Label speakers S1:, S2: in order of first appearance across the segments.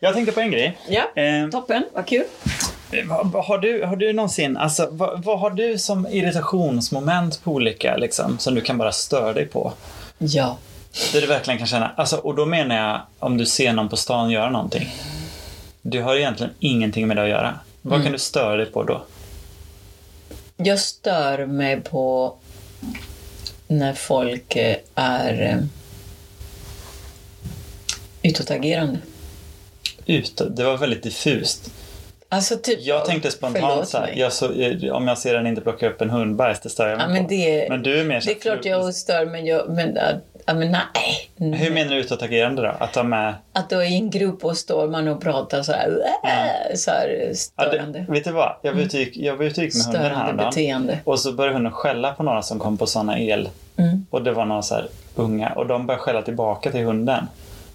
S1: Jag tänkte på en grej.
S2: Ja,
S1: Eh,
S2: toppen. Vad kul.
S1: vad- vad har, du, har du någonsin, alltså vad, vad har du som irritationsmoment på olika liksom, som du kan bara störa dig på?
S2: Ja.
S1: Där du verkligen kan känna, alltså, och då menar jag om du ser någon på stan göra någonting. Du har egentligen ingenting med det att göra. Vad
S2: Mm.
S1: kan du störa dig på då?
S2: Jag stör mig på när folk eh, är eh, utåtagerande.
S1: Ut, det var väldigt diffust.
S2: Alltså typ...
S1: Jag tänkte spontant
S2: Förlåt
S1: så här,
S2: mig.
S1: jag så, eh, om jag ser den inte plocka upp en hundbajs, det stör jag mig
S2: Ja, men
S1: på.
S2: det-
S1: men du är mer så
S2: Det är
S1: här,
S2: klart jag stör mig, jag, men, äh, ja, men nej. Mm.
S1: Hur menar du utåtagerande då? Att de är...
S2: Att då i en grupp och står man och pratar så här, äh, så här
S1: Ja,
S2: störande. Mm.
S1: det, vet du vad? Jag var ute och gick- jag var ute och gick med hunden
S2: Störande
S1: häromdagen.
S2: beteende.
S1: Och så började hunden skälla på några som kom på sådana el.
S2: Mm.
S1: Och det var några så här unga. Och de började skälla tillbaka till hunden.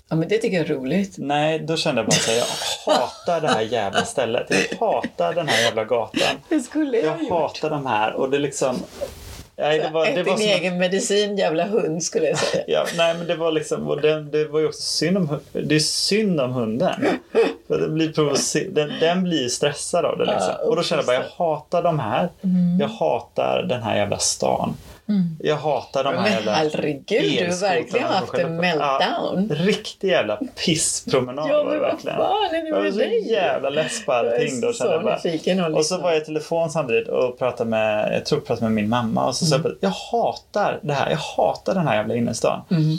S2: Ja, men det tycker jag är roligt.
S1: Nej, då kände jag bara så här, jag hatar det här jävla stället. Jag hatar den här jävla gatan.
S2: Det skulle
S1: Jag hatar de här. Och det liksom... Nej, det var, det
S2: Ät
S1: var
S2: din
S1: som att,
S2: egen medicin, jävla hund, skulle jag säga.
S1: ja, nej, men det var liksom... Och det, det var ju också synd om, hu- det är synd om hunden. För den blir, provocer- den, den blir stressad av det liksom.
S2: Ja,
S1: Och då kände jag bara, jag hatar de här. Jag hatar den här jävla stan. Jag hatar de här
S2: Men
S1: jävla...
S2: herregud, du har
S1: elskotrarna
S2: verkligen
S1: som
S2: haft
S1: skäller
S2: en
S1: på- Ja,
S2: meltdown.
S1: Riktig jävla pisspromenad
S2: Ja,
S1: var det
S2: men vad
S1: verkligen.
S2: fan är det
S1: Jag var
S2: med
S1: så
S2: dig?
S1: jävla less på allting då. kände
S2: Jag är så
S1: jag bara.
S2: nyfiken och
S1: Och så
S2: lyssnar.
S1: var jag i telefon samtidigt och pratade med, jag tror jag pratade med min mamma och så sa jag bara, jag hatar det här, jag hatar den här jävla innerstan.
S2: Mm.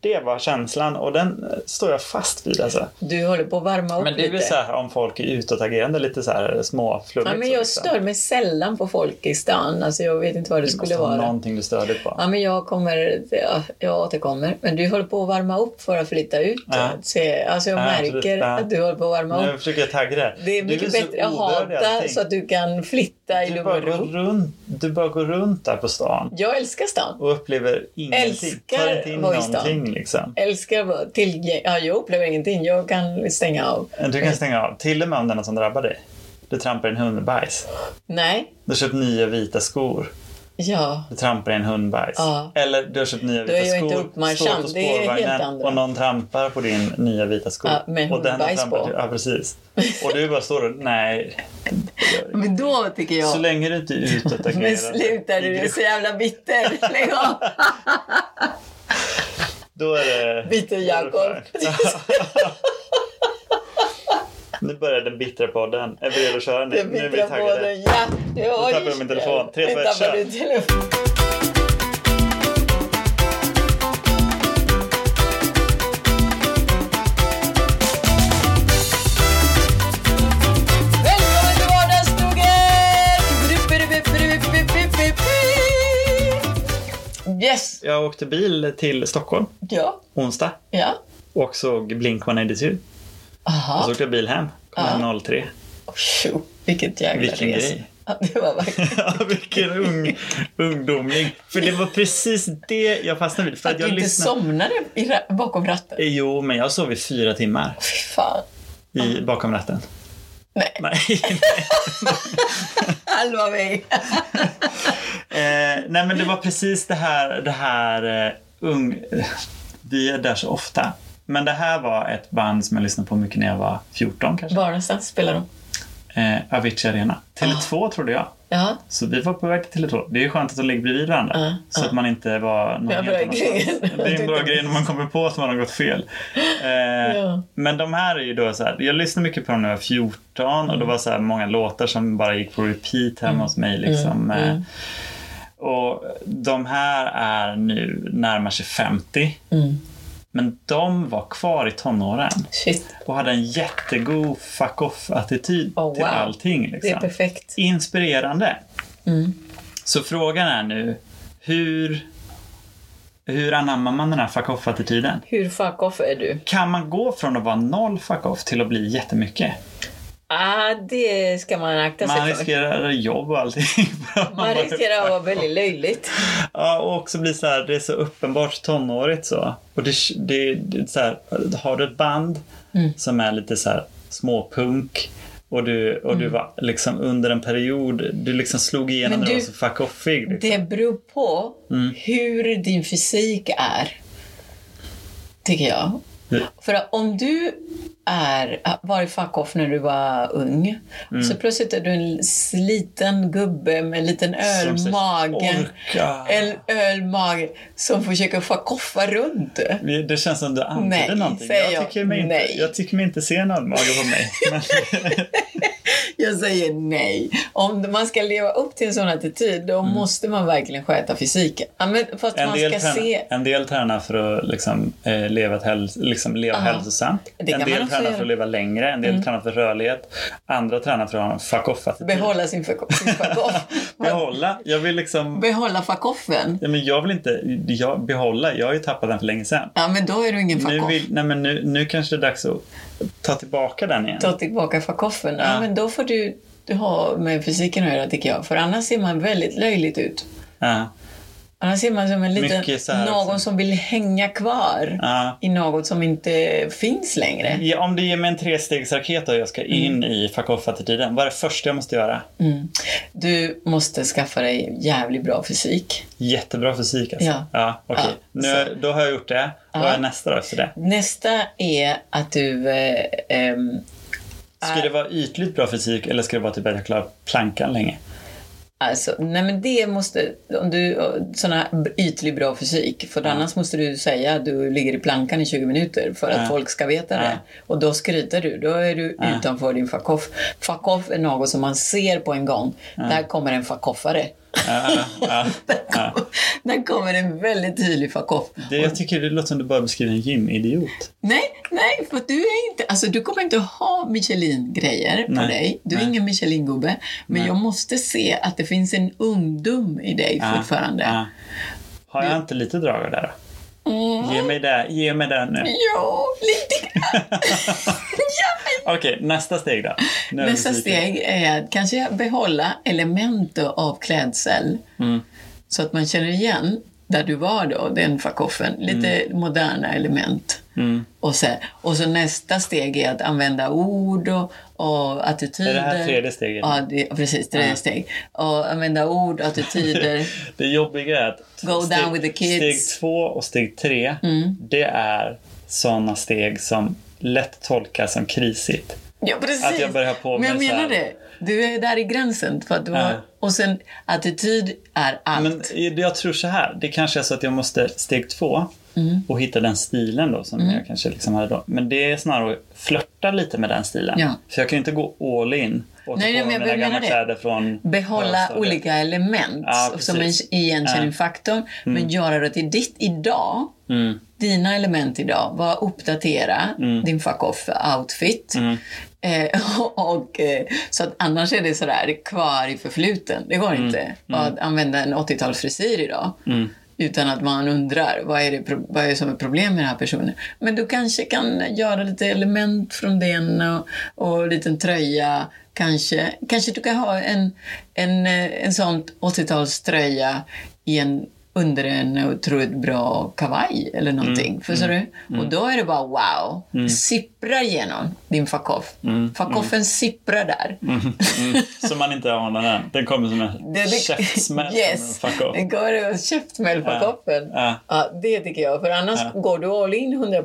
S1: Det var känslan och den eh, står jag fast vid alltså.
S2: Du håller på att varma upp
S1: Men det är
S2: lite.
S1: väl så här om folk är utåtagerande, lite så här småflummigt.
S2: ja, men
S1: så
S2: jag
S1: liksom.
S2: stör mig sällan på folk i stan. Alltså, jag vet inte vad det
S1: Du måste
S2: skulle
S1: ha
S2: vara.
S1: någonting du stör dig på.
S2: Ja, men jag kommer, ja, jag återkommer. Men du håller på att varma upp för att flytta ut.
S1: Ja.
S2: Se, alltså jag
S1: Ja, absolut.
S2: märker
S1: Ja.
S2: att du håller på att varma
S1: Nu
S2: upp.
S1: försöker jag tagga det.
S2: Det är
S1: Du
S2: mycket
S1: så
S2: bättre att
S1: odödlig i
S2: hata
S1: allting.
S2: så att du kan flytta i
S1: du
S2: lugn
S1: bara,
S2: och
S1: går
S2: ro.
S1: runt, du bara går runt där på stan
S2: Jag älskar stan.
S1: och upplever ingenting.
S2: Älskar
S1: Tar inte in
S2: vara i stan.
S1: någonting liksom.
S2: Älskar vara tillgänglig. Ja, jag upplever ingenting. Jag kan stänga av.
S1: Du kan stänga av, till och med om den som drabbar dig. Du trampar i en hundbajs.
S2: Nej.
S1: Du har köpt nya vita skor.
S2: Ja.
S1: Du trampar i en hundbajs.
S2: Ja.
S1: Eller du har köpt nya
S2: Då
S1: vita
S2: är jag
S1: skor.
S2: inte uppmärksam.
S1: står på
S2: Det är helt
S1: spårvagnen
S2: andra.
S1: Och någon trampar på din nya vita sko.
S2: Ja, med
S1: och den har
S2: hundbajs
S1: trampat
S2: på.
S1: Ja, precis. Och du bara står och, nej.
S2: Men då tycker
S1: Så
S2: jag...
S1: länge du inte är utåtagerande.
S2: Men sluta du, är så jävla bitter. Lägg av.
S1: Då är det...
S2: Bitter Jakob.
S1: nu börjar den bittra podden. Är vi redo att köra nu?
S2: Jag
S1: nu är vi
S2: bittra på
S1: taggade.
S2: den. Ja. Nu
S1: tappade jag min telefon. Tre, två, ett, kör.
S2: kör. Välkommen till vardagsstugan! Yes!
S1: Jag åkte bil till Stockholm
S2: Ja,
S1: onsdag
S2: ja.
S1: och såg Blink 182. Och
S2: Aha.
S1: så åkte jag bil hem. Kom hem 03.
S2: Tjo, vilket jävla
S1: Vilken
S2: resa.
S1: grej.
S2: Ja, det var verkligen...
S1: Ja, Vilken ung, ungdomlig. För det var precis det jag fastnade vid. För att,
S2: Att du
S1: jag
S2: inte
S1: lyssnade.
S2: somnade i ra- bakom ratten.
S1: Eh, Jo, men jag sov i fyra timmar
S2: Fy fan.
S1: i, bakom ratten.
S2: Nej.
S1: Nej.
S2: Halva mig.
S1: Eh, nej, men det var precis det här, det här eh, ung... Vi är där så ofta. Men det här var ett band som jag lyssnade på mycket när jag var 14 kanske.
S2: Var någonstans spelar de?
S1: Eh, Avicii Arena.
S2: Ah.
S1: Tele2 trodde jag.
S2: Ja.
S1: Så vi var på väg till Tele2. Det är ju skönt att de ligger bredvid varandra.
S2: Ja,
S1: så att man inte var någon
S2: Det är en bra
S1: helt annanstans.
S2: grej.
S1: Det är en bra grej när man kommer på att man har gått fel. Eh,
S2: Ja.
S1: Men de här är ju då så här. Jag lyssnade mycket på dem när jag var 14
S2: Mm.
S1: och det var så här många låtar som bara gick på repeat hemma hos mig. Liksom.
S2: Mm.
S1: Eh, Och de här är nu närmar sig 50.
S2: Mm.
S1: Men de var kvar i tonåren
S2: Shit.
S1: och hade en jättegod fuck off-attityd
S2: Oh,
S1: till
S2: wow.
S1: allting. Liksom
S2: Det är perfekt.
S1: inspirerande.
S2: Mm.
S1: Så frågan är nu, hur, hur anammar man den här fuck off-attityden?
S2: Hur fuck off är du?
S1: Kan man gå från att vara noll fuck off till att bli jättemycket?
S2: Ah, det ska man akta
S1: Man
S2: sig för.
S1: riskerar jobb och allting.
S2: Man riskerar att vara väldigt löjligt.
S1: Ja, och också bli så här, det är så uppenbart tonårigt så. Och det, det, det så här, har du ett band
S2: Mm.
S1: som är lite så här småpunk och du, och du var liksom under en period, du liksom slog igenom
S2: Mm. Men
S1: när du var
S2: du-
S1: så fuck offig. Liksom. Mm.
S2: Det beror på hur din fysik är. Tycker jag. För att om du är, ah, var i fuck-off när du var ung,
S1: Mm.
S2: så plötsligt är du en sliten gubbe med en liten
S1: Som säger,
S2: ölmage.
S1: Orka.
S2: En ölmage som försöker fuck-offa runt.
S1: Det känns som du antyder
S2: Nej,
S1: någonting.
S2: säger
S1: Jag
S2: jag.
S1: tycker, mig inte,
S2: Nej.
S1: jag tycker mig inte se en ölmage på mig. Men,
S2: Jag säger nej. Om man ska leva upp till en sån attityd, då måste man verkligen sköta fysiken. Ja, men fast
S1: Mm. en,
S2: man
S1: del
S2: ska
S1: tränar,
S2: se...
S1: en del tränar för att liksom, eh, leva, ett häl, liksom, leva
S2: Ja.
S1: hälsosamt.
S2: Det kan
S1: En
S2: man
S1: del
S2: också
S1: tränar
S2: göra. Mm.
S1: för att leva längre, en del tränar för rörlighet. Andra tränar för att ha en fuck-off-attityd.
S2: Behålla sin fuck- sin fuck-off.
S1: Behålla. Jag vill liksom...
S2: Behålla fuck-offen.
S1: Ja, men jag vill inte jag, behålla. Jag har ju tappat den för länge sedan.
S2: Ja, men då är du ingen
S1: Nu,
S2: fuck-off.
S1: vill, nej, men nu, nu kanske det är dags att ta tillbaka den igen.
S2: Ta tillbaka fuck-offen. Ja.
S1: Ja.
S2: men då får du, du ha med fysiken att göra, tycker jag. För annars ser man väldigt löjligt ut.
S1: Ja,
S2: Annars ser man som en liten,
S1: Mycket så här-
S2: någon som vill hänga kvar
S1: ja.
S2: i något som inte finns längre.
S1: Ja, om du ger mig en trestegsraket och jag ska in i fuck off-attityden, vad är det första jag måste göra?
S2: Mm. Du måste skaffa dig jävligt bra fysik.
S1: Jättebra fysik alltså.
S2: Ja.
S1: ja okej.
S2: Ja,
S1: nu, då har jag gjort det. Vad
S2: Ja.
S1: är nästa då efter det?
S2: Nästa är att du... Eh, ehm,
S1: Ska
S2: Äh.
S1: det vara ytligt bra fysik eller ska det vara typ att jag klarar plankan länge?
S2: Alltså, nej men det måste, om du, sådana ytlig bra fysik, för annars måste du säga att du ligger i plankan i 20 minuter för att
S1: Ja.
S2: folk ska veta det.
S1: Ja.
S2: Och då skryter du, då är du utanför din fuck off. Fuck off är något som man ser på en gång. Där kommer en fuck offare.
S1: Ja, ja, ja, ja.
S2: Där kommer en väldigt tydlig fuck off.
S1: Det, jag tycker det låter som du bara beskriver en gymidiot.
S2: Nej, nej, för du är inte, alltså du kommer inte ha Michelin-grejer på
S1: Nej,
S2: dig. Du är
S1: nej.
S2: ingen Michelin-gubbe. Men jag måste se att det finns en ungdom i dig
S1: Ja,
S2: fortfarande. Mm.
S1: ja. Har jag inte lite drag av det då? Ge mig det, ge mig det nu.
S2: Ja, lite grann. ja,
S1: Okej, nästa steg då. Nu är
S2: men nästa
S1: fysiken.
S2: steg är att kanske behålla element av klädsel
S1: Mm.
S2: så att man känner igen där du var då, den fackoffen. Lite
S1: Mm.
S2: moderna element. Och, sen, och så nästa steg är att använda ord och, och attityder.
S1: Är det här tredje steget?
S2: Ja, det, precis. Tredje steg. Och använda ord, attityder.
S1: Det jobbiga är att
S2: Go down
S1: steg,
S2: with the kids. Mm.
S1: steg två och steg tre, det är sådana steg som lätt tolkas som krisigt.
S2: Ja, precis.
S1: Att jag börjar på
S2: Men jag
S1: med så
S2: menar
S1: här-
S2: det. Du är där i gränsen. För att du har,
S1: Ja.
S2: Och sen, attityd är allt.
S1: Men jag tror så här, det kanske är så att jag måste steg två
S2: Mm.
S1: och hitta den stilen då som jag kanske liksom hade då. Men det är snarare att flörta lite med den stilen.
S2: Ja.
S1: För jag kan ju inte gå all in och ta
S2: Nej,
S1: på
S2: men
S1: mig
S2: jag
S1: mina
S2: menar
S1: gamla
S2: det.
S1: kläder från
S2: Behålla
S1: högstadiet.
S2: olika element
S1: Ja,
S2: som en
S1: precis. Mm.
S2: igenkänningsfaktor, men göra det till ditt idag. Dina element idag var uppdatera din fuck-off-outfit. Eh, och, eh, så att annars är det sådär kvar i förfluten. Det går inte. Och att använda en 80-talsfrisyr idag utan att man undrar vad är, det, pro- vad är det som är problem med den här personen. Men du kanske kan göra lite element från den och, och en liten tröja. Kanske, kanske du kan ha en, en, eh, en sån 80-talströja i en, under en otroligt bra kavaj eller någonting.
S1: Mm.
S2: Förstår du? Och då är det bara wow. Sipprar genom din fuck off. Fuck offen sipprar där.
S1: Mm, som man inte anar den. Den kommer som en
S2: Det- det-
S1: käftsmäll.
S2: Yes.
S1: Fuck off.
S2: Den går och käftsmäll på
S1: Ja.
S2: koppen.
S1: Ja.
S2: det tycker jag. För annars går du all in 100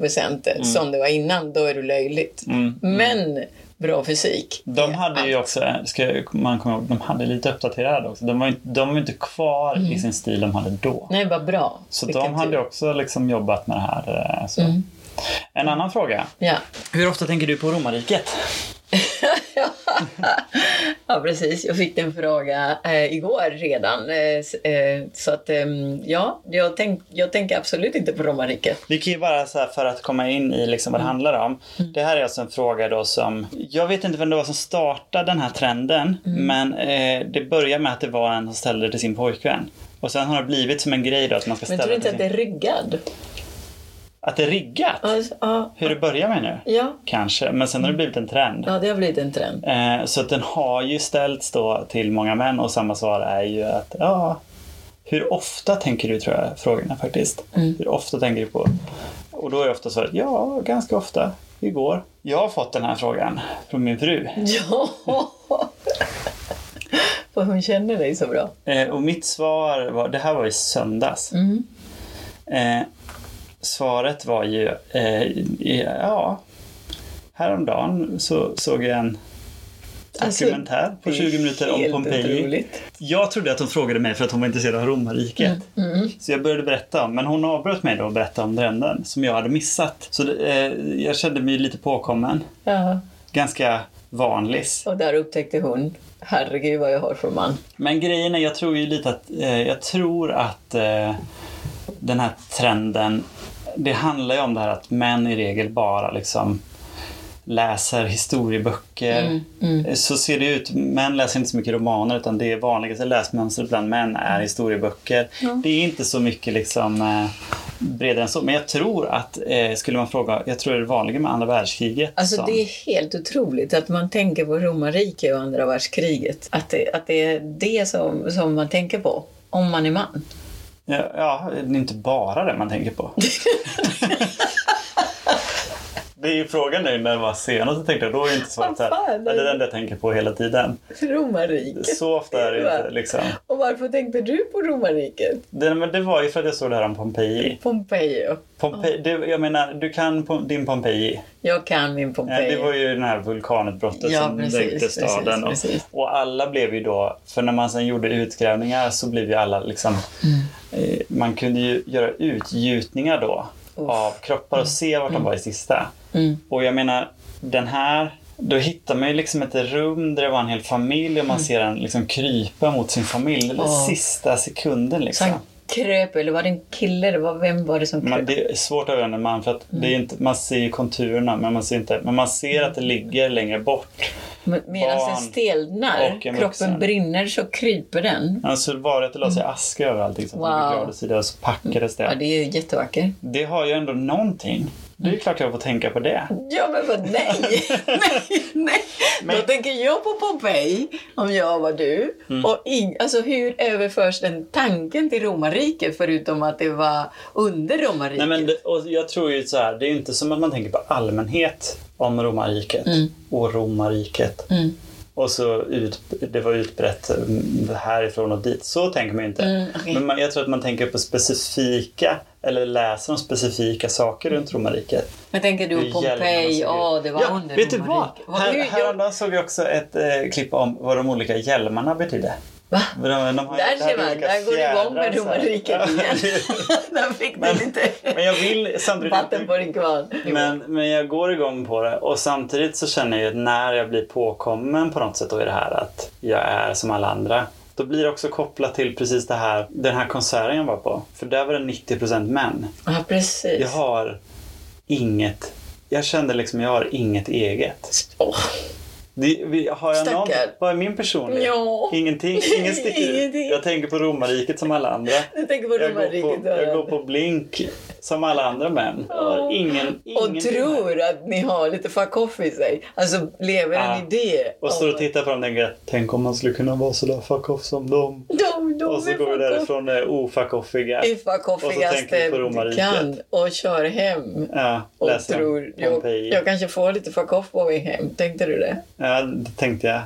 S1: Mm.
S2: som det var innan, då är du löjligt. Men bra fysik.
S1: De
S2: är
S1: hade ju
S2: allt.
S1: också, ska man komma ihåg, de hade lite uppdaterad också. De var ju de var ju inte kvar i sin stil de hade då.
S2: Mm. Nej, vad bra.
S1: Så
S2: Vilken
S1: de hade
S2: tur. Mm.
S1: också liksom jobbat med det här. eh, Så. En annan fråga.
S2: Ja.
S1: Hur ofta tänker du på romarriket?
S2: ja, precis. Jag fick den fråga eh, igår redan. Eh, s- eh, så att, ehm, ja, jag, tänk, jag tänker absolut inte på romarriket.
S1: Vi kan ju bara så här för att komma in i liksom
S2: Mm.
S1: vad det handlar om. Det här är alltså en fråga då som, jag vet inte vem det var som startade den här trenden,
S2: Mm.
S1: men eh, det började med att det var en som ställde det till sin pojkvän. Och sen har det blivit som en grej då att man ska
S2: Men
S1: ställa
S2: tror du inte
S1: till
S2: att
S1: sin...
S2: det är ryggad?
S1: Att det är riggat?
S2: Alltså, ja,
S1: Hur det börjar med nu?
S2: ja,
S1: Kanske, men sen har det blivit en trend.
S2: ja, det har blivit en trend.
S1: Eh, så att den har ju ställts då till många män och samma svar är ju att ja, hur ofta tänker du tror jag frågorna faktiskt. Hur ofta tänker du på? Och då är ofta svaret ja, ganska ofta. Igår. Jag har fått den här frågan från min fru.
S2: Ja! För hon känner dig så bra. Mm.
S1: Eh, och mitt svar var, det här var i söndags. Eh, svaret var ju, eh, ja, häromdagen så såg jag en
S2: Alltså,
S1: dokumentär på 20 minuter om
S2: Helt
S1: Pompeji.
S2: otroligt.
S1: Jag trodde att hon frågade mig för att hon var intresserad av romarriket.
S2: Mm,
S1: Så jag började berätta om, men hon avbröt mig då och berättade om trenden som jag hade missat. Så det, eh, jag kände mig lite påkommen.
S2: Ja.
S1: Ganska vanlig.
S2: Och där upptäckte hon, herregud vad jag har för man.
S1: Men grejen är, jag tror ju lite att, eh, jag tror att eh, den här trenden, det handlar ju om det här att män i regel bara liksom läser historieböcker.
S2: Mm,
S1: Eh, Så ser det ut. Män läser inte så mycket romaner utan det vanligaste läsmönstret bland män
S2: Mm.
S1: är historieböcker. Det är inte så mycket liksom eh, bredare än så. Men jag tror att, eh, skulle man fråga, jag tror det är vanligare med andra världskriget.
S2: Alltså
S1: som-
S2: det är helt otroligt att man tänker på romarriket och andra världskriget. Att det, att det är det som, som man tänker på om man är man.
S1: Ja, ja, det är inte bara det man tänker på. det är ju frågan nu när det var senast jag tänkte jag, då är det inte svaret så här.
S2: Vad fan,
S1: Ja, det är den jag tänker på hela tiden.
S2: Romarriket.
S1: Så ofta är det inte liksom.
S2: Och varför tänkte du på romarriket?
S1: Det, men det var ju för att jag såg det här om Pompeji.
S2: Pompeji.
S1: Pompeji det, jag menar, du kan pom- din Pompeji.
S2: Jag kan min
S1: Ja,
S2: Pompeji.
S1: det var ju den här vulkanutbrottet
S2: Ja,
S1: som
S2: precis,
S1: dränkte staden.
S2: precis, precis.
S1: Och, och alla blev ju då, för när man sen gjorde utgrävningar så blev ju alla liksom,
S2: Mm.
S1: eh, man kunde ju göra utgjutningar då
S2: Uff.
S1: av kroppar och se vart de var i sista.
S2: Mm.
S1: Och jag menar, den här, då hittar man ju liksom ett rum där det var en hel familj och man ser den liksom krypa mot sin familj. Den
S2: Mm. Ja.
S1: sista sekunden
S2: Så
S1: liksom.
S2: han kröp, eller var det en kille? Det var, vem var det som kröp?
S1: Man, det är svårt att avgöra när man, för att det är
S2: Mm.
S1: inte, man ser ju konturerna men man ser inte, men man ser att det ligger längre bort.
S2: Men- Medan den
S1: barn
S2: stelnar,
S1: och en
S2: kroppen
S1: vuxen.
S2: brinner, så kryper den.
S1: Alltså var det att det la sig aska över allting som
S2: Mm. Wow. Mm.
S1: wow. begravdes i det och så packades
S2: Ja,
S1: det.
S2: det Mm. är ju jättevackert.
S1: Det har ju ändå någonting. Det är klart jag får tänka på det.
S2: Ja, men vad, nej. nej, nej. Då tänker jag på Pompeji, om jag var du.
S1: Mm.
S2: Och in, alltså, hur överförs den tanken till romarriket, förutom att det var under romarriket?
S1: Nej, men det, och jag tror ju så här, det är ju inte som att man tänker på allmänhet om romarriket och romarriket.
S2: Mm.
S1: Och så ut, det var utbrett mm, härifrån och dit. Så tänker man ju inte.
S2: Mm, okej.
S1: Men man, jag tror att man tänker på specifika, eller läser om specifika saker runt
S2: Mm.
S1: romarriket.
S2: Vad tänker du
S1: Hur
S2: om Pompeji?
S1: hjälmarna
S2: Ja,
S1: såg ut.
S2: det var
S1: ja,
S2: under
S1: Vet du vad?
S2: romarriket.
S1: Här,
S2: hur, jag,
S1: häromdagen såg jag också ett eh, klipp om vad de olika hjälmarna betyder.
S2: va?
S1: De, de har,
S2: Där ser
S1: hade
S2: man,
S1: olika
S2: där går det igång
S1: fjädrar
S2: med
S1: så här.
S2: romarriket igen. där fick du
S1: Men-
S2: lite
S1: Men jag vill samtidigt...
S2: vatten på din kvarn.
S1: Men, men jag går igång på det och samtidigt så känner jag ju att när jag blir påkommen på något sätt då i det här att jag är som alla andra. Då blir det också kopplat till precis det här, den här konserten jag var på. För där var det 90% män.
S2: Ja, precis.
S1: Jag har inget, jag kände liksom jag har inget eget.
S2: Åh.
S1: Det, vi, har jag någon,
S2: Stackare.
S1: vad är min personlighet?
S2: Ja.
S1: Ingenting, ingen sticker ut.
S2: Ingenting.
S1: Jag tänker på romarriket som alla andra.
S2: Jag tänker på
S1: Jag går,
S2: romarriket.
S1: på,
S2: där.
S1: jag går på blink som alla andra män. Jag har ingen,
S2: och
S1: ingenting.
S2: tror att ni har lite fuck off i sig. Alltså lever en
S1: Ja.
S2: idé.
S1: Ah, Och står och tittar på dem och tänker tänk om man skulle kunna vara så där fuck off som dem.
S2: de, de
S1: Och så
S2: är
S1: går vi
S2: fuck off-
S1: därifrån eh, ofuck offiga.
S2: är fuck
S1: Och så tänker
S2: offigaste
S1: vi på
S2: du
S1: romarriket.
S2: kan och kör hem.
S1: Ja,
S2: Och
S1: läser jag.
S2: tror, jag,
S1: Pompeji.
S2: jag kanske får lite fuck off på väg hem. Tänkte du det?
S1: Ja, det tänkte jag.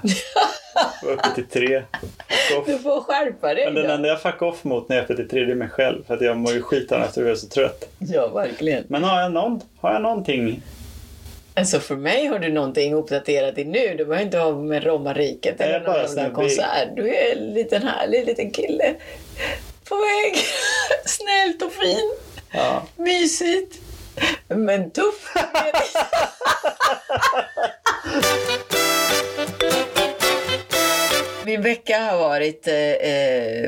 S1: Jag var uppe till tre. Fuck off.
S2: Du får skärpa dig
S1: Men den
S2: då.
S1: enda jag fuck off mot när jag är uppe till tre det är mig själv. För att jag mår ju skit av mig efter att jag är så trött.
S2: Ja, verkligen.
S1: Men har jag, någon, har jag någonting?
S2: Alltså för mig har du någonting uppdaterat i nu. Du behöver inte ha med romarriket
S1: Nej,
S2: eller
S1: jag bara
S2: någon jävla
S1: snubbig.
S2: konsert. Du är en liten härlig liten kille. På väg. Snällt och fin.
S1: Ja.
S2: Mysigt. Men tuff. Min vecka har varit eh, eh,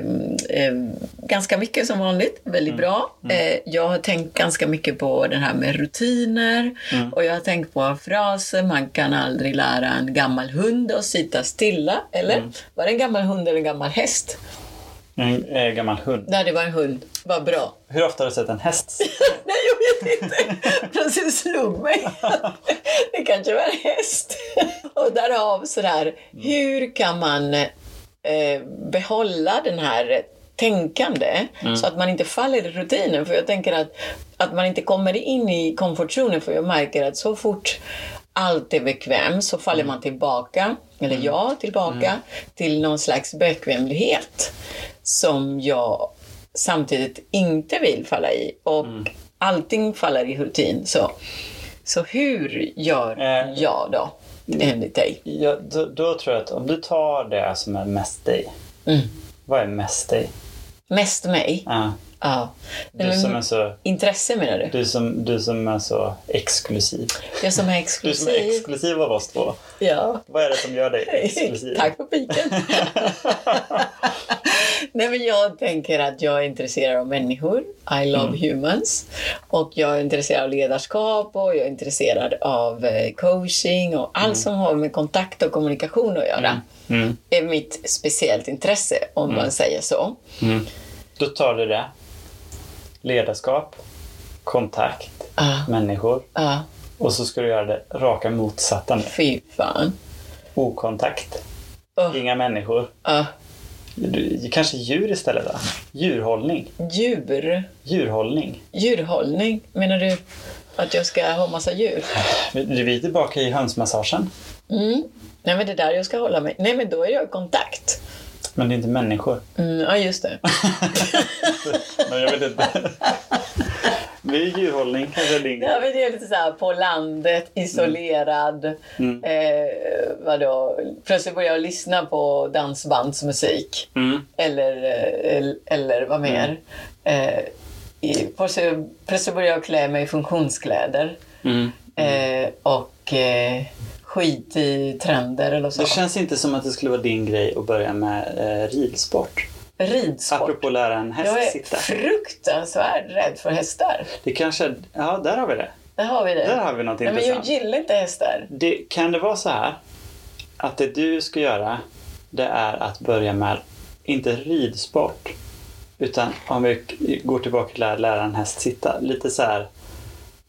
S2: eh, ganska mycket som vanligt, väldigt bra. Eh, jag har tänkt ganska mycket på det här med rutiner och jag har tänkt på fraser, man kan aldrig lära en gammal hund att sitta stilla, eller? Var det en gammal hund eller en gammal häst?
S1: En eh, gammal hund.
S2: Nej, det var en hund. Vad bra.
S1: Hur ofta har du sett en häst?
S2: Nej, jag vet inte. Plötsligt slog mig att det kanske var en häst. Och därav sådär, hur kan man eh, behålla den här tänkande så att man inte faller i rutinen? För jag tänker att, att man inte kommer in i komfortzonen för jag märker att så fort allt är bekvämt så faller man tillbaka, eller jag tillbaka, till någon slags
S1: Mm.
S2: bekvämlighet som jag samtidigt inte vill falla i. Och allting faller i rutin. Så, så hur gör
S1: Eh.
S2: jag då, enligt dig?
S1: Ja, då, då tror jag att om du tar det som är mest dig.
S2: Mm.
S1: Vad är mest dig?
S2: Mest mig?
S1: Ja,
S2: Ja.
S1: du, som är
S2: Men,
S1: så,
S2: intresse menar du?
S1: du, som, du som är så exklusiv.
S2: Jag
S1: Du som
S2: som är exklusiv?
S1: är exklusiv av oss två.
S2: Ja.
S1: Vad är det som gör dig exklusiv?
S2: Tack för piken. Nej, men jag tänker att jag är intresserad av människor. I love humans. Och jag är intresserad av ledarskap och jag är intresserad av eh, coaching och allt som har med kontakt och kommunikation att göra.
S1: Mm.
S2: är mitt speciellt intresse, om man säger så.
S1: Mm. Då tar du det. Ledarskap, kontakt,
S2: Ah,
S1: människor.
S2: ah,
S1: Och så ska du göra det raka motsatta nu.
S2: fy fan.
S1: Okontakt,
S2: Oh,
S1: inga människor.
S2: ah,
S1: Du, kanske djur istället då? Djurhållning.
S2: djur.
S1: Djurhållning.
S2: Djurhållning. Menar du att jag ska ha massa djur?
S1: Vi vi är tillbaka i hönsmassagen.
S2: Mm. Nej, men det är där jag ska hålla mig. Nej, men då är jag i kontakt.
S1: Men det är inte människor.
S2: Mm, ja, just det.
S1: Men jag vet inte. Det är djurhållning kanske din
S2: Ja,
S1: grej.
S2: men det är lite så här på landet, isolerad.
S1: Mm.
S2: Eh, vadå? Plötsligt börjar jag lyssna på dansbandsmusik.
S1: Mm.
S2: Eller, eh, el- eller vad mer?
S1: Mm.
S2: Eh, i- plötsligt, plötsligt börjar jag klä mig i funktionskläder.
S1: Mm.
S2: Eh, och eh, skit i trender eller så.
S1: Det känns inte som att det skulle vara din grej att börja med eh, ridsport.
S2: Ridsport.
S1: Apropå lära en häst
S2: Jag är
S1: sitta.
S2: fruktansvärt rädd för hästar.
S1: Det kanske... Ja, där har vi det.
S2: Där har vi det.
S1: Där har vi något
S2: Nej, men jag
S1: intressant.
S2: gillar inte hästar.
S1: Det, kan det vara så här att det du ska göra det är att börja med, inte ridsport, utan om vi k- går tillbaka till att lära en häst sitta. Lite så här,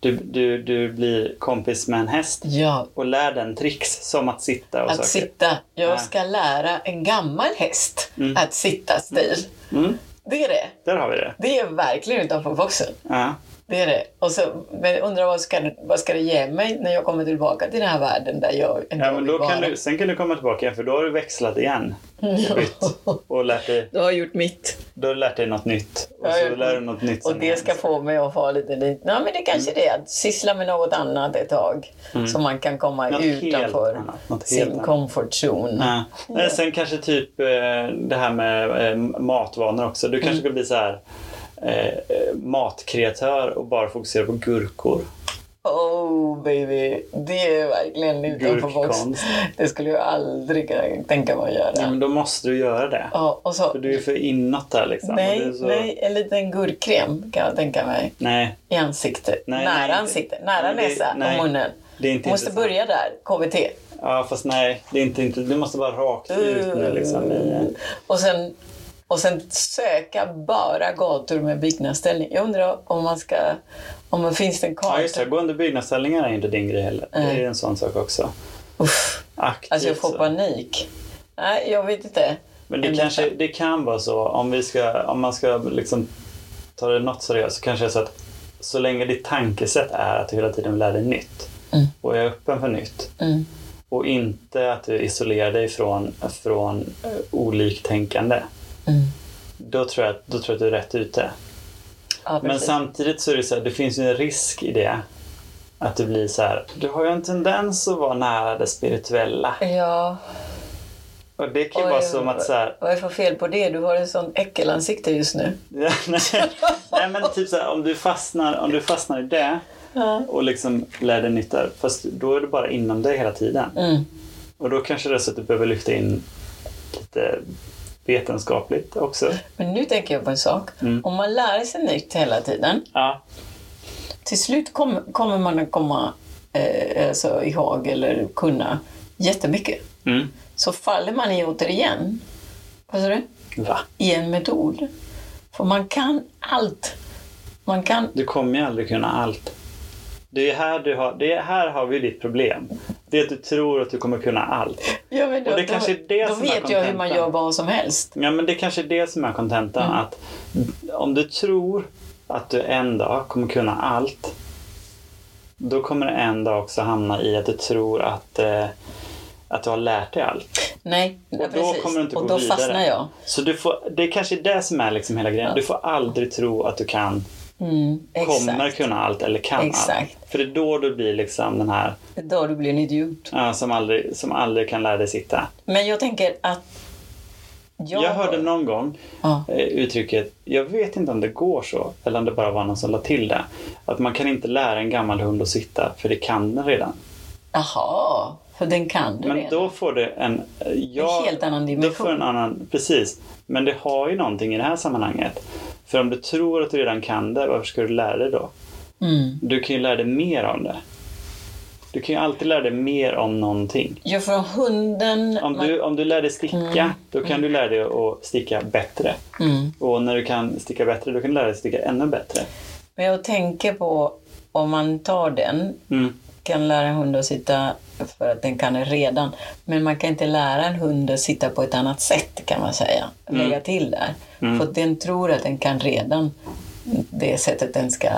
S1: du, du, du blir kompis med en häst
S2: Ja,
S1: och lär den tricks som att sitta och
S2: att
S1: saker.
S2: sitta.
S1: Ja.
S2: Jag ska lära en gammal häst att sitta still.
S1: Mm,
S2: Det är det.
S1: där har vi det.
S2: Det är verkligen utanför boxen.
S1: Ja.
S2: Det är det. Och så, men jag undrar vad ska, vad ska det ge mig när jag kommer tillbaka till den här världen där jag ändå
S1: Ja, men
S2: vill
S1: då kan
S2: vara.
S1: du, sen kan du komma tillbaka igen för då har du växlat igen. Och bytt. Och lärt dig,
S2: Du har gjort mitt.
S1: då har du lärt dig något nytt. Och
S2: Jag har
S1: så
S2: gjort
S1: lär du
S2: mitt.
S1: något nytt
S2: Och
S1: sen
S2: det
S1: igen.
S2: ska få mig att få lite dit. Ja, men det är
S1: Mm.
S2: kanske det. Att syssla med något annat ett tag. Så man kan komma
S1: Något helt
S2: utanför
S1: annat, något helt
S2: sin
S1: annat.
S2: comfort zone.
S1: Nej. Nej, sen kanske typ eh, det här med eh, matvanor också. Du kanske
S2: Mm.
S1: skulle bli så här eh, eh, matkreatör och bara fokusera på gurkor.
S2: Oh baby, det är verkligen utanför boxen.
S1: Gurkkonst.
S2: Det skulle jag aldrig kunna tänka mig att göra.
S1: Ja, men då måste du göra det.
S2: Ja, och så,
S1: Mm. För du är för inåt där liksom. och det är
S2: nej,
S1: så...
S2: nej, en liten gurkkräm kan jag tänka mig.
S1: Nej,
S2: I ansiktet,
S1: Nej,
S2: nära
S1: nej, inte-
S2: ansiktet, nära
S1: nej, det-
S2: näsa
S1: nej,
S2: och munnen.
S1: det är inte
S2: Måste
S1: intressant.
S2: börja där, KBT.
S1: Ja, fast nej. Det är inte, inte, du måste bara rakt
S2: Uh.
S1: ut nu liksom. i, eh,
S2: Och sen, och sen söka bara gator med byggnadsställning. Jag undrar om man ska... Om det finns en
S1: Ja, just
S2: karta?
S1: det. Gående byggnadsställningar är inte din grej heller. Det
S2: Nej.
S1: är en sån sak också.
S2: Uff,
S1: Aktivt.
S2: alltså jag får
S1: så.
S2: panik. Nej, jag vet inte.
S1: Men det,
S2: En
S1: kanske,
S2: liten-
S1: det kan vara så, om, vi ska, om man ska liksom ta det något seriöst, så kanske det är så att så länge ditt tankesätt är att du hela tiden lär dig nytt
S2: Mm.
S1: och är öppen för nytt
S2: Mm.
S1: och inte att du isolerar dig från, från eh, oliktänkande,
S2: Mm.
S1: då tror, jag, att- då tror jag att du är rätt ute.
S2: Ja,
S1: Men
S2: precis.
S1: samtidigt så är det så här, det finns ju en risk i det. Att det blir så här, du har ju en tendens att vara nära det spirituella.
S2: Ja,
S1: Och det kan ju
S2: Oj,
S1: vara som att så här,
S2: vad är det för fel på det? Du har en sån äckelansikte just nu.
S1: Ja, nej. nej men typ så här, om du fastnar, om du fastnar i det
S2: Ja.
S1: och liksom lär dig nytt där, fast då är det bara inom dig hela tiden.
S2: Mm.
S1: Och då kanske det är så att du behöver lyfta in lite vetenskapligt också.
S2: Men nu tänker jag på en sak.
S1: Mm.
S2: Om man lär sig nytt hela tiden,
S1: Ja.
S2: till slut kommer, kommer man att komma eh, alltså, ihåg eller kunna jättemycket.
S1: Mm.
S2: Så faller man i återigen, vad sa du?
S1: Va?
S2: I en metod. För man kan allt. Man kan...
S1: Du kommer ju aldrig kunna allt. Det är här, du har, det är här har vi ditt problem. Det är att du tror att du kommer kunna allt.
S2: Ja, men då,
S1: Och det kanske är det
S2: då
S1: som är
S2: vet jag hur man
S1: kontentan.
S2: gör vad som helst.
S1: Ja, men det kanske är det som är kontentan.
S2: Mm.
S1: Att om du tror att du en dag kommer kunna allt, då kommer du en dag också hamna i att du tror att, eh, att du har lärt dig allt.
S2: Nej, ja,
S1: Och då
S2: precis.
S1: kommer du inte
S2: och
S1: gå
S2: då
S1: vidare.
S2: fastnar jag.
S1: Så du får, det är kanske är det som är liksom hela grejen. Du får aldrig tro att du kan
S2: Mm, exakt.
S1: kommer kunna allt eller kan
S2: Exakt.
S1: allt. För det är då du blir liksom den här
S2: Då du blir en idiot.
S1: ja, som, aldrig, som aldrig kan lära dig sitta.
S2: Men jag tänker att... Jag,
S1: Jag hörde någon gång
S2: Ja.
S1: eh, uttrycket, jag vet inte om det går så, eller om det bara var någon som la till det, att man kan inte lära en gammal hund att sitta, för det kan den redan.
S2: Jaha, för den kan du
S1: Men
S2: redan.
S1: då får det en... eh, Ja,
S2: En helt annan
S1: Då
S2: dimension.
S1: får en annan, precis. Men det har ju någonting i det här sammanhanget. För om du tror att du redan kan det, varför ska du lära dig då?
S2: Mm.
S1: Du kan ju lära dig mer om det. Du kan ju alltid lära dig mer om någonting.
S2: Ja, för om hunden...
S1: Om du, om du lär dig sticka, då kan du lära dig att sticka bättre.
S2: Mm.
S1: Och när du kan sticka bättre, då kan du lära dig sticka ännu bättre.
S2: Men jag tänker på om man tar den,
S1: Mm.
S2: kan lära en hund att sitta för att den kan det redan. Men man kan inte lära en hund att sitta på ett annat sätt kan man säga.
S1: Mm.
S2: Lägga till där. För att den tror att den kan redan det sättet den ska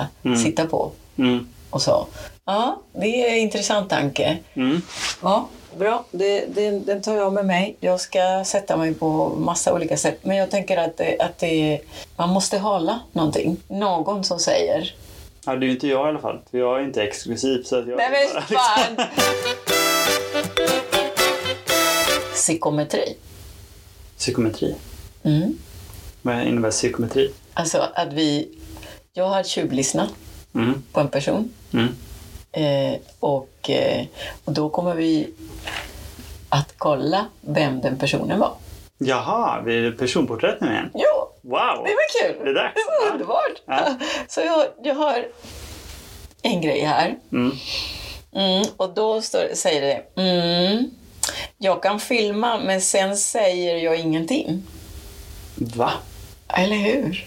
S2: sitta på.
S1: Mm.
S2: Och så. Ja, det är en intressant tanke.
S1: Mm.
S2: Ja, bra. Det, det, den tar jag med mig. Jag ska sätta mig på massa olika sätt. Men jag tänker att, det- att det, man måste hala någonting. Någon som säger
S1: Ja, det är ju inte jag i alla fall, för jag är inte exklusiv. Så att jag
S2: Nej men fan! Psykometri.
S1: Psykometri.
S2: Mm.
S1: Vad innebär psykometri?
S2: Alltså att vi... Jag har tjuvlyssnat
S1: Mm.
S2: på en person
S1: Mm.
S2: eh, och, eh, och då kommer vi att kolla vem den personen var.
S1: Jaha, vi är personporträtt nu igen.
S2: Jo,
S1: Wow!
S2: det var kul!
S1: Det är dags.
S2: var underbart!
S1: Ja.
S2: Så jag, jag har en grej här.
S1: Mm.
S2: Mm, och då står, säger det mm, jag kan filma men sen säger jag ingenting.
S1: Va?
S2: Eller hur?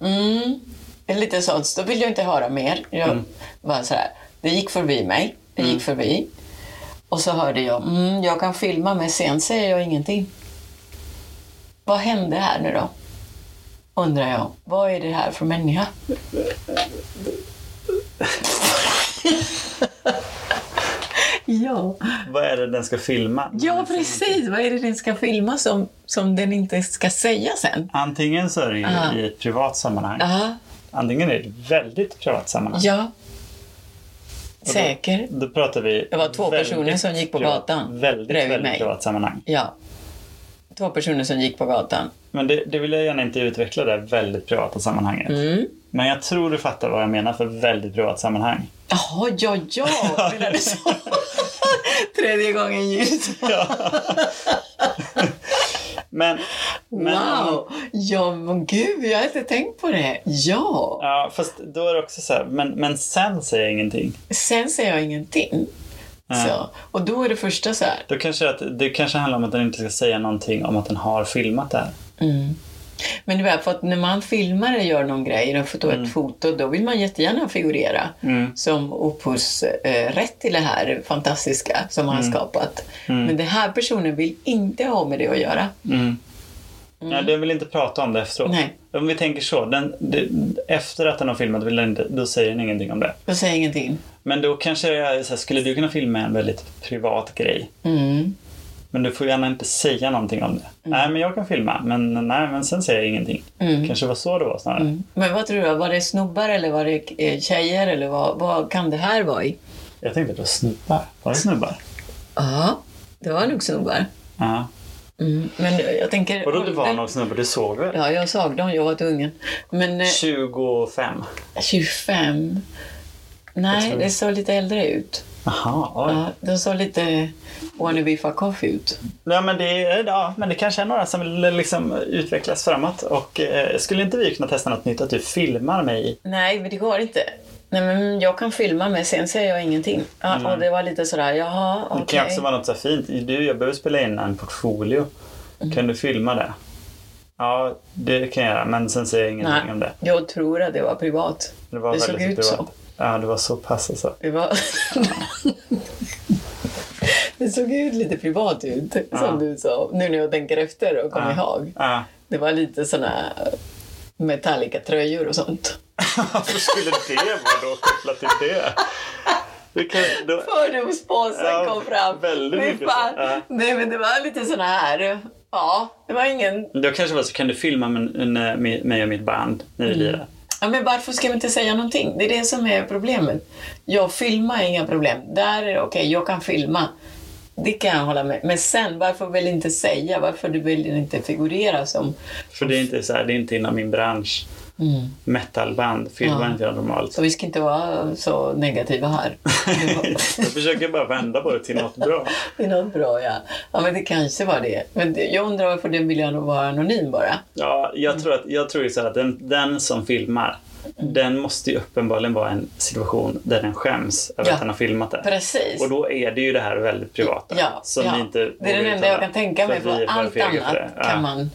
S2: Mm. Det är Lite sånt. Då vill jag inte höra mer. Jag var så här. Det gick förbi mig. Det gick förbi. Och så hörde jag, mm, jag kan filma men sen säger jag ingenting. Vad hände här nu då? Undrar jag. Vad är det här för människa? ja.
S1: Vad är det den ska filma?
S2: ja, precis. Vad är det den ska filma som, som den inte ska säga sen?
S1: Antingen så är det ju
S2: Ja.
S1: i ett privat sammanhang.
S2: Ja.
S1: Antingen är det ett väldigt privat sammanhang.
S2: Ja. Säker.
S1: Då pratar vi...
S2: Det var två
S1: väldigt
S2: personer som gick på
S1: privat-
S2: gatan
S1: Väldigt,
S2: bredvid
S1: väldigt
S2: mig.
S1: privat sammanhang.
S2: Ja. Två personer som gick på gatan.
S1: Men det, det vill jag gärna inte utveckla, det här väldigt privata sammanhanget. Men jag tror du fattar vad jag menar för väldigt privat sammanhang.
S2: Jaha, ja, ja, menar du så? Tredje gången ljus.
S1: Men... men
S2: Wow! Ja, men gud, jag har inte tänkt på det. Ja!
S1: Ja, fast då är det också så här, men, men sen säger jag ingenting.
S2: Sen säger jag ingenting. Så. Och då är det första så här.
S1: Då kanske att, det kanske handlar om att den inte ska säga någonting om att den har filmat det här.
S2: Mm. Men det är för att när man filmar eller gör någon grej och får ta ett
S1: Mm.
S2: foto, då vill man jättegärna figurera som upphovsrätt till det här fantastiska som man
S1: Mm.
S2: har skapat. Men den här personen vill inte ha med det att göra.
S1: Mm. Nej, den vill inte prata om det efteråt.
S2: Mm. Nej.
S1: Om vi tänker så, den, det, efter att den har filmat vill den inte, då säger den ingenting om det.
S2: Jag säger ingenting.
S1: Men då kanske jag är så här, skulle du kunna filma en väldigt privat grej?
S2: Mm.
S1: Men du får gärna inte säga någonting om det. Nej, men jag kan filma, men nej, men sen säger jag ingenting.
S2: Mm.
S1: Kanske var så det var snarare.
S2: Men vad tror du? Var det snubbar eller var det eh, tjejer? Eller vad, vad kan det här vara i?
S1: Jag tänkte på snubbar. Var det snubbar?
S2: Ja, det var nog snubbar.
S1: Ja.
S2: Mm. Men jag tänker...
S1: Vadå det var
S2: ålder?
S1: någon snubbe? Du såg väl?
S2: Ja, jag såg dem. Jag var tvungen. Men... eh,
S1: 25.
S2: 25.
S1: Jag
S2: Nej,
S1: tror-
S2: det såg lite äldre ut.
S1: Jaha, oj.
S2: Ja, de såg lite wannabe fuck off ut.
S1: Nej, men, det, är- ja, men det kanske är några som vill liksom utvecklas framåt. Och eh, skulle inte vi kunna testa något nytt? Att du filmar mig?
S2: Nej, men det går inte. Nej, men jag kan filma men sen säger jag ingenting. Ja, Och det var lite sådär, jaha,
S1: Mm. Det kan
S2: okej.
S1: också vara något så här fint. Du, jag behöver spela in en portfolio.
S2: Mm.
S1: Kan du filma det? Ja, det kan jag göra. Men sen säger jag ingenting om det.
S2: Nej, jag tror att det var privat.
S1: Det, var
S2: Det såg
S1: väldigt
S2: ut så.
S1: privat. Ja, det var så pass alltså.
S2: Det, var... det såg ut lite privat ut, som du sa. Nu när jag tänker efter och kommer ihåg.
S1: Ja.
S2: Det var lite såna Metallica-tröjor och sånt.
S1: Varför skulle det vara då kopplat till det? det kan, då,
S2: Fördomspåsen
S1: Ja,
S2: kom fram.
S1: väldigt
S2: Fy
S1: mycket
S2: fan.
S1: så. Ja.
S2: Nej, men det var lite såna här... Ja, det var ingen... Mm.
S1: då kanske det var så, kan du filma men- en, eh, mig mig och mitt band när vi lirar?
S2: Ja, men varför ska vi inte säga någonting? Det är det som är problemet. Jag filmar är inga problem. Där är det okej, jag kan filma. Det kan jag hålla med Men sen, varför vill inte säga? Varför du vill inte figurera som...
S1: För det är inte, så här, det är inte inom min bransch.
S2: Mm.
S1: Metalband filmar inte jag normalt.
S2: Så vi ska inte vara så negativa här. Det var-
S1: jag försöker bara vända på det till något bra.
S2: Det är något bra, ja. Ja, men det kanske var det. Men det- jag undrar varför den vill jag nog vara anonym bara.
S1: Ja, jag tror, att, jag tror ju så här att den, den som filmar,
S2: Mm.
S1: den måste ju uppenbarligen vara en situation där den skäms över
S2: Ja.
S1: att den har filmat det.
S2: Precis.
S1: Och då är det ju det här väldigt privata.
S2: Ja,
S1: som
S2: ja.
S1: vi inte
S2: det är
S1: vågar
S2: den enda jag
S1: uttala,
S2: kan tänka mig.
S1: att
S2: För
S1: vi är för
S2: allt
S1: fega för
S2: annat
S1: det.
S2: kan
S1: ja.
S2: man...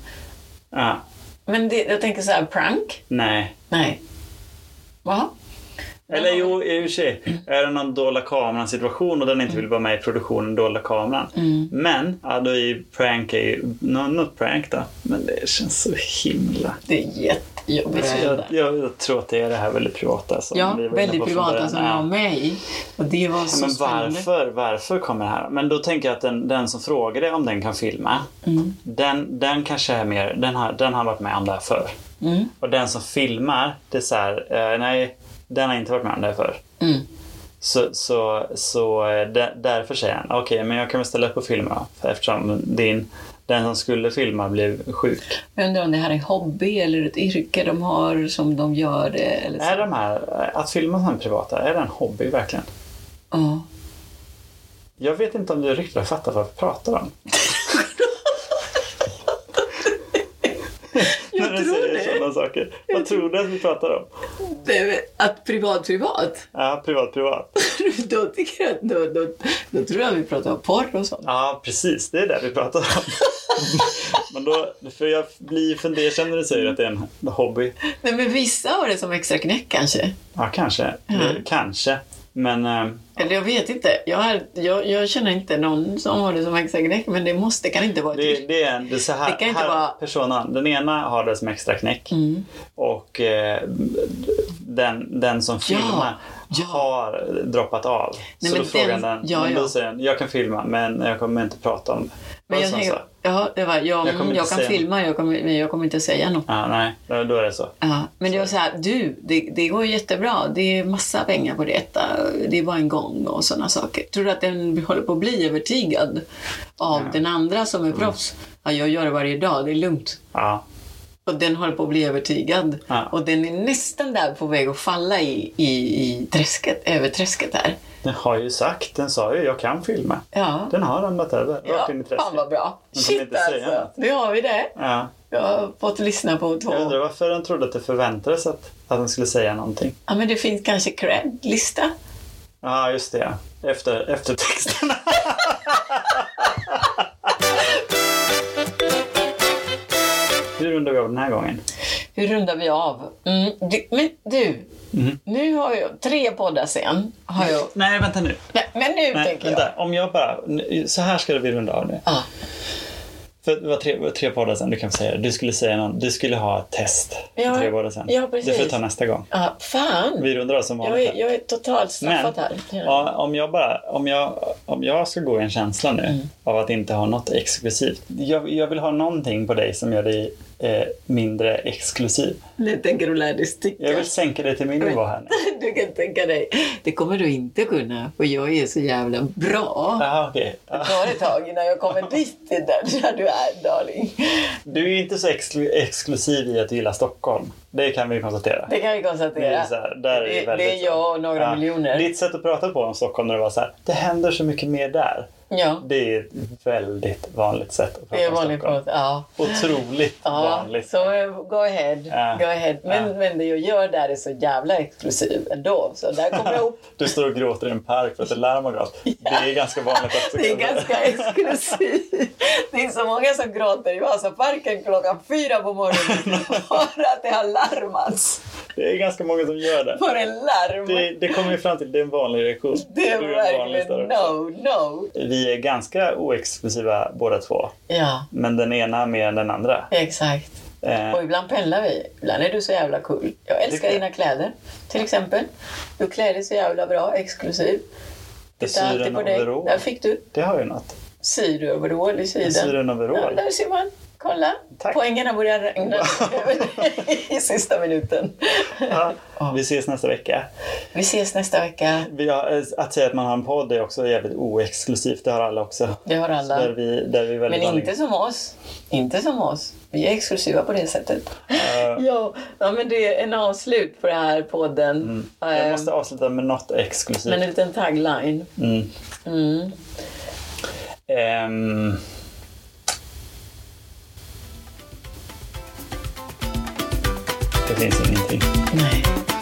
S1: Ja.
S2: Men det, jag tänker så här, prank?
S1: Nej.
S2: Nej. Jaha.
S1: Eller jo, i och för sig. Är det någon dolda kameran situation och den inte vill vara med i produktionen dolda kameran.
S2: Mm.
S1: Men, ja då är ju prank är ju, nå- något prank då. Men det känns så himla...
S2: Det är jättejobbigt.
S1: Så jag, jag, jag tror att det är det här väldigt privata som
S2: Ja,
S1: vi var inne
S2: väldigt
S1: på från
S2: privata
S1: början.
S2: som
S1: Ja.
S2: jag var med i. Och det var så
S1: Men
S2: spännande.
S1: varför, varför kommer det här? Men då tänker jag att den, den som frågade om den kan filma,
S2: Mm.
S1: den, den kanske är mer, den har, den har varit med om det här förr.
S2: Mm.
S1: Och den som filmar, det är så här, eh, nej, den har inte varit med om det här förr.
S2: Mm.
S1: Så, så, så eh, där- därför säger han, okej, men jag kan väl ställa upp och filma då, för eftersom din, den som skulle filma blev sjuk.
S2: Jag undrar om det här är en hobby eller ett yrke de har som de gör det. Eller så.
S1: Är de här, eh, att filma som privata, är det en hobby verkligen?
S2: Ja.
S1: Jag vet inte om du riktigt fattar vad vi pratar om.
S2: Jag
S1: När du
S2: tror
S1: säger
S2: det.
S1: Sådana saker. Vad tror du att vi pratar om?
S2: Det är väl att privat privat?
S1: Ja, privat, privat.
S2: då, tycker jag, att- då, då, då tror jag vi pratar om porr och sånt.
S1: Ja, precis. Det är det vi pratar om. Men då, för jag blir fundersam när du säger att det är en hobby.
S2: Nej, men vissa har det som extra knäck kanske.
S1: Ja, kanske.
S2: Mm.
S1: Kanske. Men eh,
S2: Eller jag vet inte. Jag, är, jag, jag känner inte någon som har det som extra knäck, men det måste, kan inte vara ett
S1: det,
S2: yrke.
S1: det är en... Det är så här,
S2: Det kan inte
S1: här
S2: vara-
S1: personen, den ena har det som extra knäck.
S2: Mm.
S1: Och eh, den, den som filmar
S2: ja.
S1: har droppat av.
S2: Nej,
S1: så
S2: men
S1: då frågar
S2: den-
S1: den,
S2: ja,
S1: men
S2: ja.
S1: då säger den, jag kan filma men jag kommer inte prata om det.
S2: Men
S1: Och
S2: jag
S1: sen så,
S2: tänker, ja, det var, ja,
S1: Jag
S2: jag,
S1: kommer inte
S2: jag kan
S1: säga
S2: filma, jag kommer, men jag kommer inte säga något.
S1: Ja, nej, då då är det så.
S2: Ja, men det var så här, du, det, det går jättebra. Det är massa pengar på detta. Det är bara en gång och sådana saker. Tror du att den håller på att bli övertygad av den andra som är
S1: Mm.
S2: proffs? Ja, jag gör det varje dag, det är lugnt.
S1: Ja.
S2: Och den håller på att bli övertygad.
S1: Ja.
S2: Och den är nästan där på väg att falla i, i, i träsket, över träsket här.
S1: Den har ju sagt, den sa ju jag kan filma.
S2: Ja,
S1: Den har ramlat över,
S2: ja
S1: rakt in i
S2: fan
S1: träsket.
S2: vad bra.
S1: Men kommer
S2: Shit
S1: inte säga
S2: alltså,
S1: något.
S2: nu har vi det.
S1: Ja.
S2: Jag har fått lyssna på två.
S1: Jag undrar varför den trodde att det förväntades att, att den skulle säga någonting.
S2: Ja, men det finns kanske cred-lista.
S1: Ja, just det. ja. Efter, efter texterna. Hur rundar vi av den här gången?
S2: Hur rundar vi av? Mm, du, men du,
S1: Mm.
S2: nu har jag tre poddar sen. Har jag,
S1: Nej, vänta nu.
S2: nej, men nu
S1: Nej,
S2: tänker jag.
S1: vänta. Om jag bara... nu- Så här ska vi runda av nu.
S2: Ja,
S1: För det var tre, det var tre poddar sen, du kan säga det. Du skulle säga någon, du skulle ha ett test.
S2: Ja,
S1: tre poddar sen.
S2: ja, precis.
S1: Det får vi ta nästa gång.
S2: ja, fan,
S1: Vi rundar av som
S2: jag
S1: vanligt.
S2: är, jag är totalt straffad här.
S1: ja, om, jag bara, om, jag, om jag ska gå i en känsla nu
S2: Mm.
S1: av att inte ha något exklusivt. Jag, jag vill ha någonting på dig som gör dig eh, mindre exklusiv.
S2: Nu tänker du lära dig
S1: Jag
S2: sticka.
S1: vill sänka dig till min nivå här nu.
S2: Du kan tänka dig. Det kommer du inte kunna, för jag är så jävla bra.
S1: Jaha, okej. Ah, Ja.
S2: Det tar ett tag innan jag kommer dit, det där, där du är, darling.
S1: Du är ju inte så exklu- exklusiv i att du gillar Stockholm. Det kan vi konstatera.
S2: Det kan vi
S1: Det
S2: konstatera.
S1: är, så här, där är,
S2: det,
S1: väldigt,
S2: det är jag och några
S1: Ja.
S2: miljoner.
S1: Ditt sätt att prata på om Stockholm när det var så här, det händer så mycket mer där.
S2: ja,
S1: Det är ett väldigt vanligt sätt att prata
S2: det är
S1: om
S2: vanligt.
S1: Stockholm.
S2: prat. Ja.
S1: Otroligt
S2: Ja,
S1: vanligt.
S2: så eh, go ahead.
S1: Ja.
S2: Go ahead. Men,
S1: Ja.
S2: men det jag gör där är så jävla exklusivt ändå. Så där kommer jag upp.
S1: Du står och gråter i en park för att ett larm har gått. Det är ganska vanligt också.
S2: Det är ganska exklusivt. Det är så många som gråter i Vasaparken klockan fyra på morgonen för att det har larmats.
S1: Det är ganska många som gör det.
S2: För en larm.
S1: Det, det kommer vi fram till, det är en vanlig reaktion.
S2: det är
S1: Du en vanlig
S2: verkligen
S1: större.
S2: no, no.
S1: Vi är ganska oexklusiva båda två.
S2: Ja,
S1: Men den ena mer än den andra.
S2: exakt.
S1: Eh,
S2: Och ibland pendlar vi. Ibland är du så jävla cool. Jag älskar
S1: Tycker jag.
S2: dina kläder, till exempel. Du klär dig så jävla bra, exklusiv. Tittar alltid
S1: syren
S2: på dig.
S1: overall.
S2: Där fick du.
S1: Det har ju något.
S2: Syr du överall i sidan.
S1: Syr en overall?
S2: Ja, där ser man. kolla.
S1: Tack.
S2: Poängerna börjar regna i sista minuten.
S1: Ja, vi ses nästa vecka.
S2: Vi ses nästa vecka.
S1: Vi har, eh, att säga att man har en podd är också jävligt oexklusivt. Det har alla också.
S2: Det har alla.
S1: Där vi, där vi är väldigt
S2: Men inte som oss. Inte som oss. Vi är exklusiva på det sättet. Ja, ja men det är en avslut på den här podden.
S1: Mm. Jag
S2: Eh,
S1: måste avsluta med något exklusivt.
S2: Men en liten tagline.
S1: Mm.
S2: Mm.
S1: Ehm, Det finns ingenting.
S2: Nej.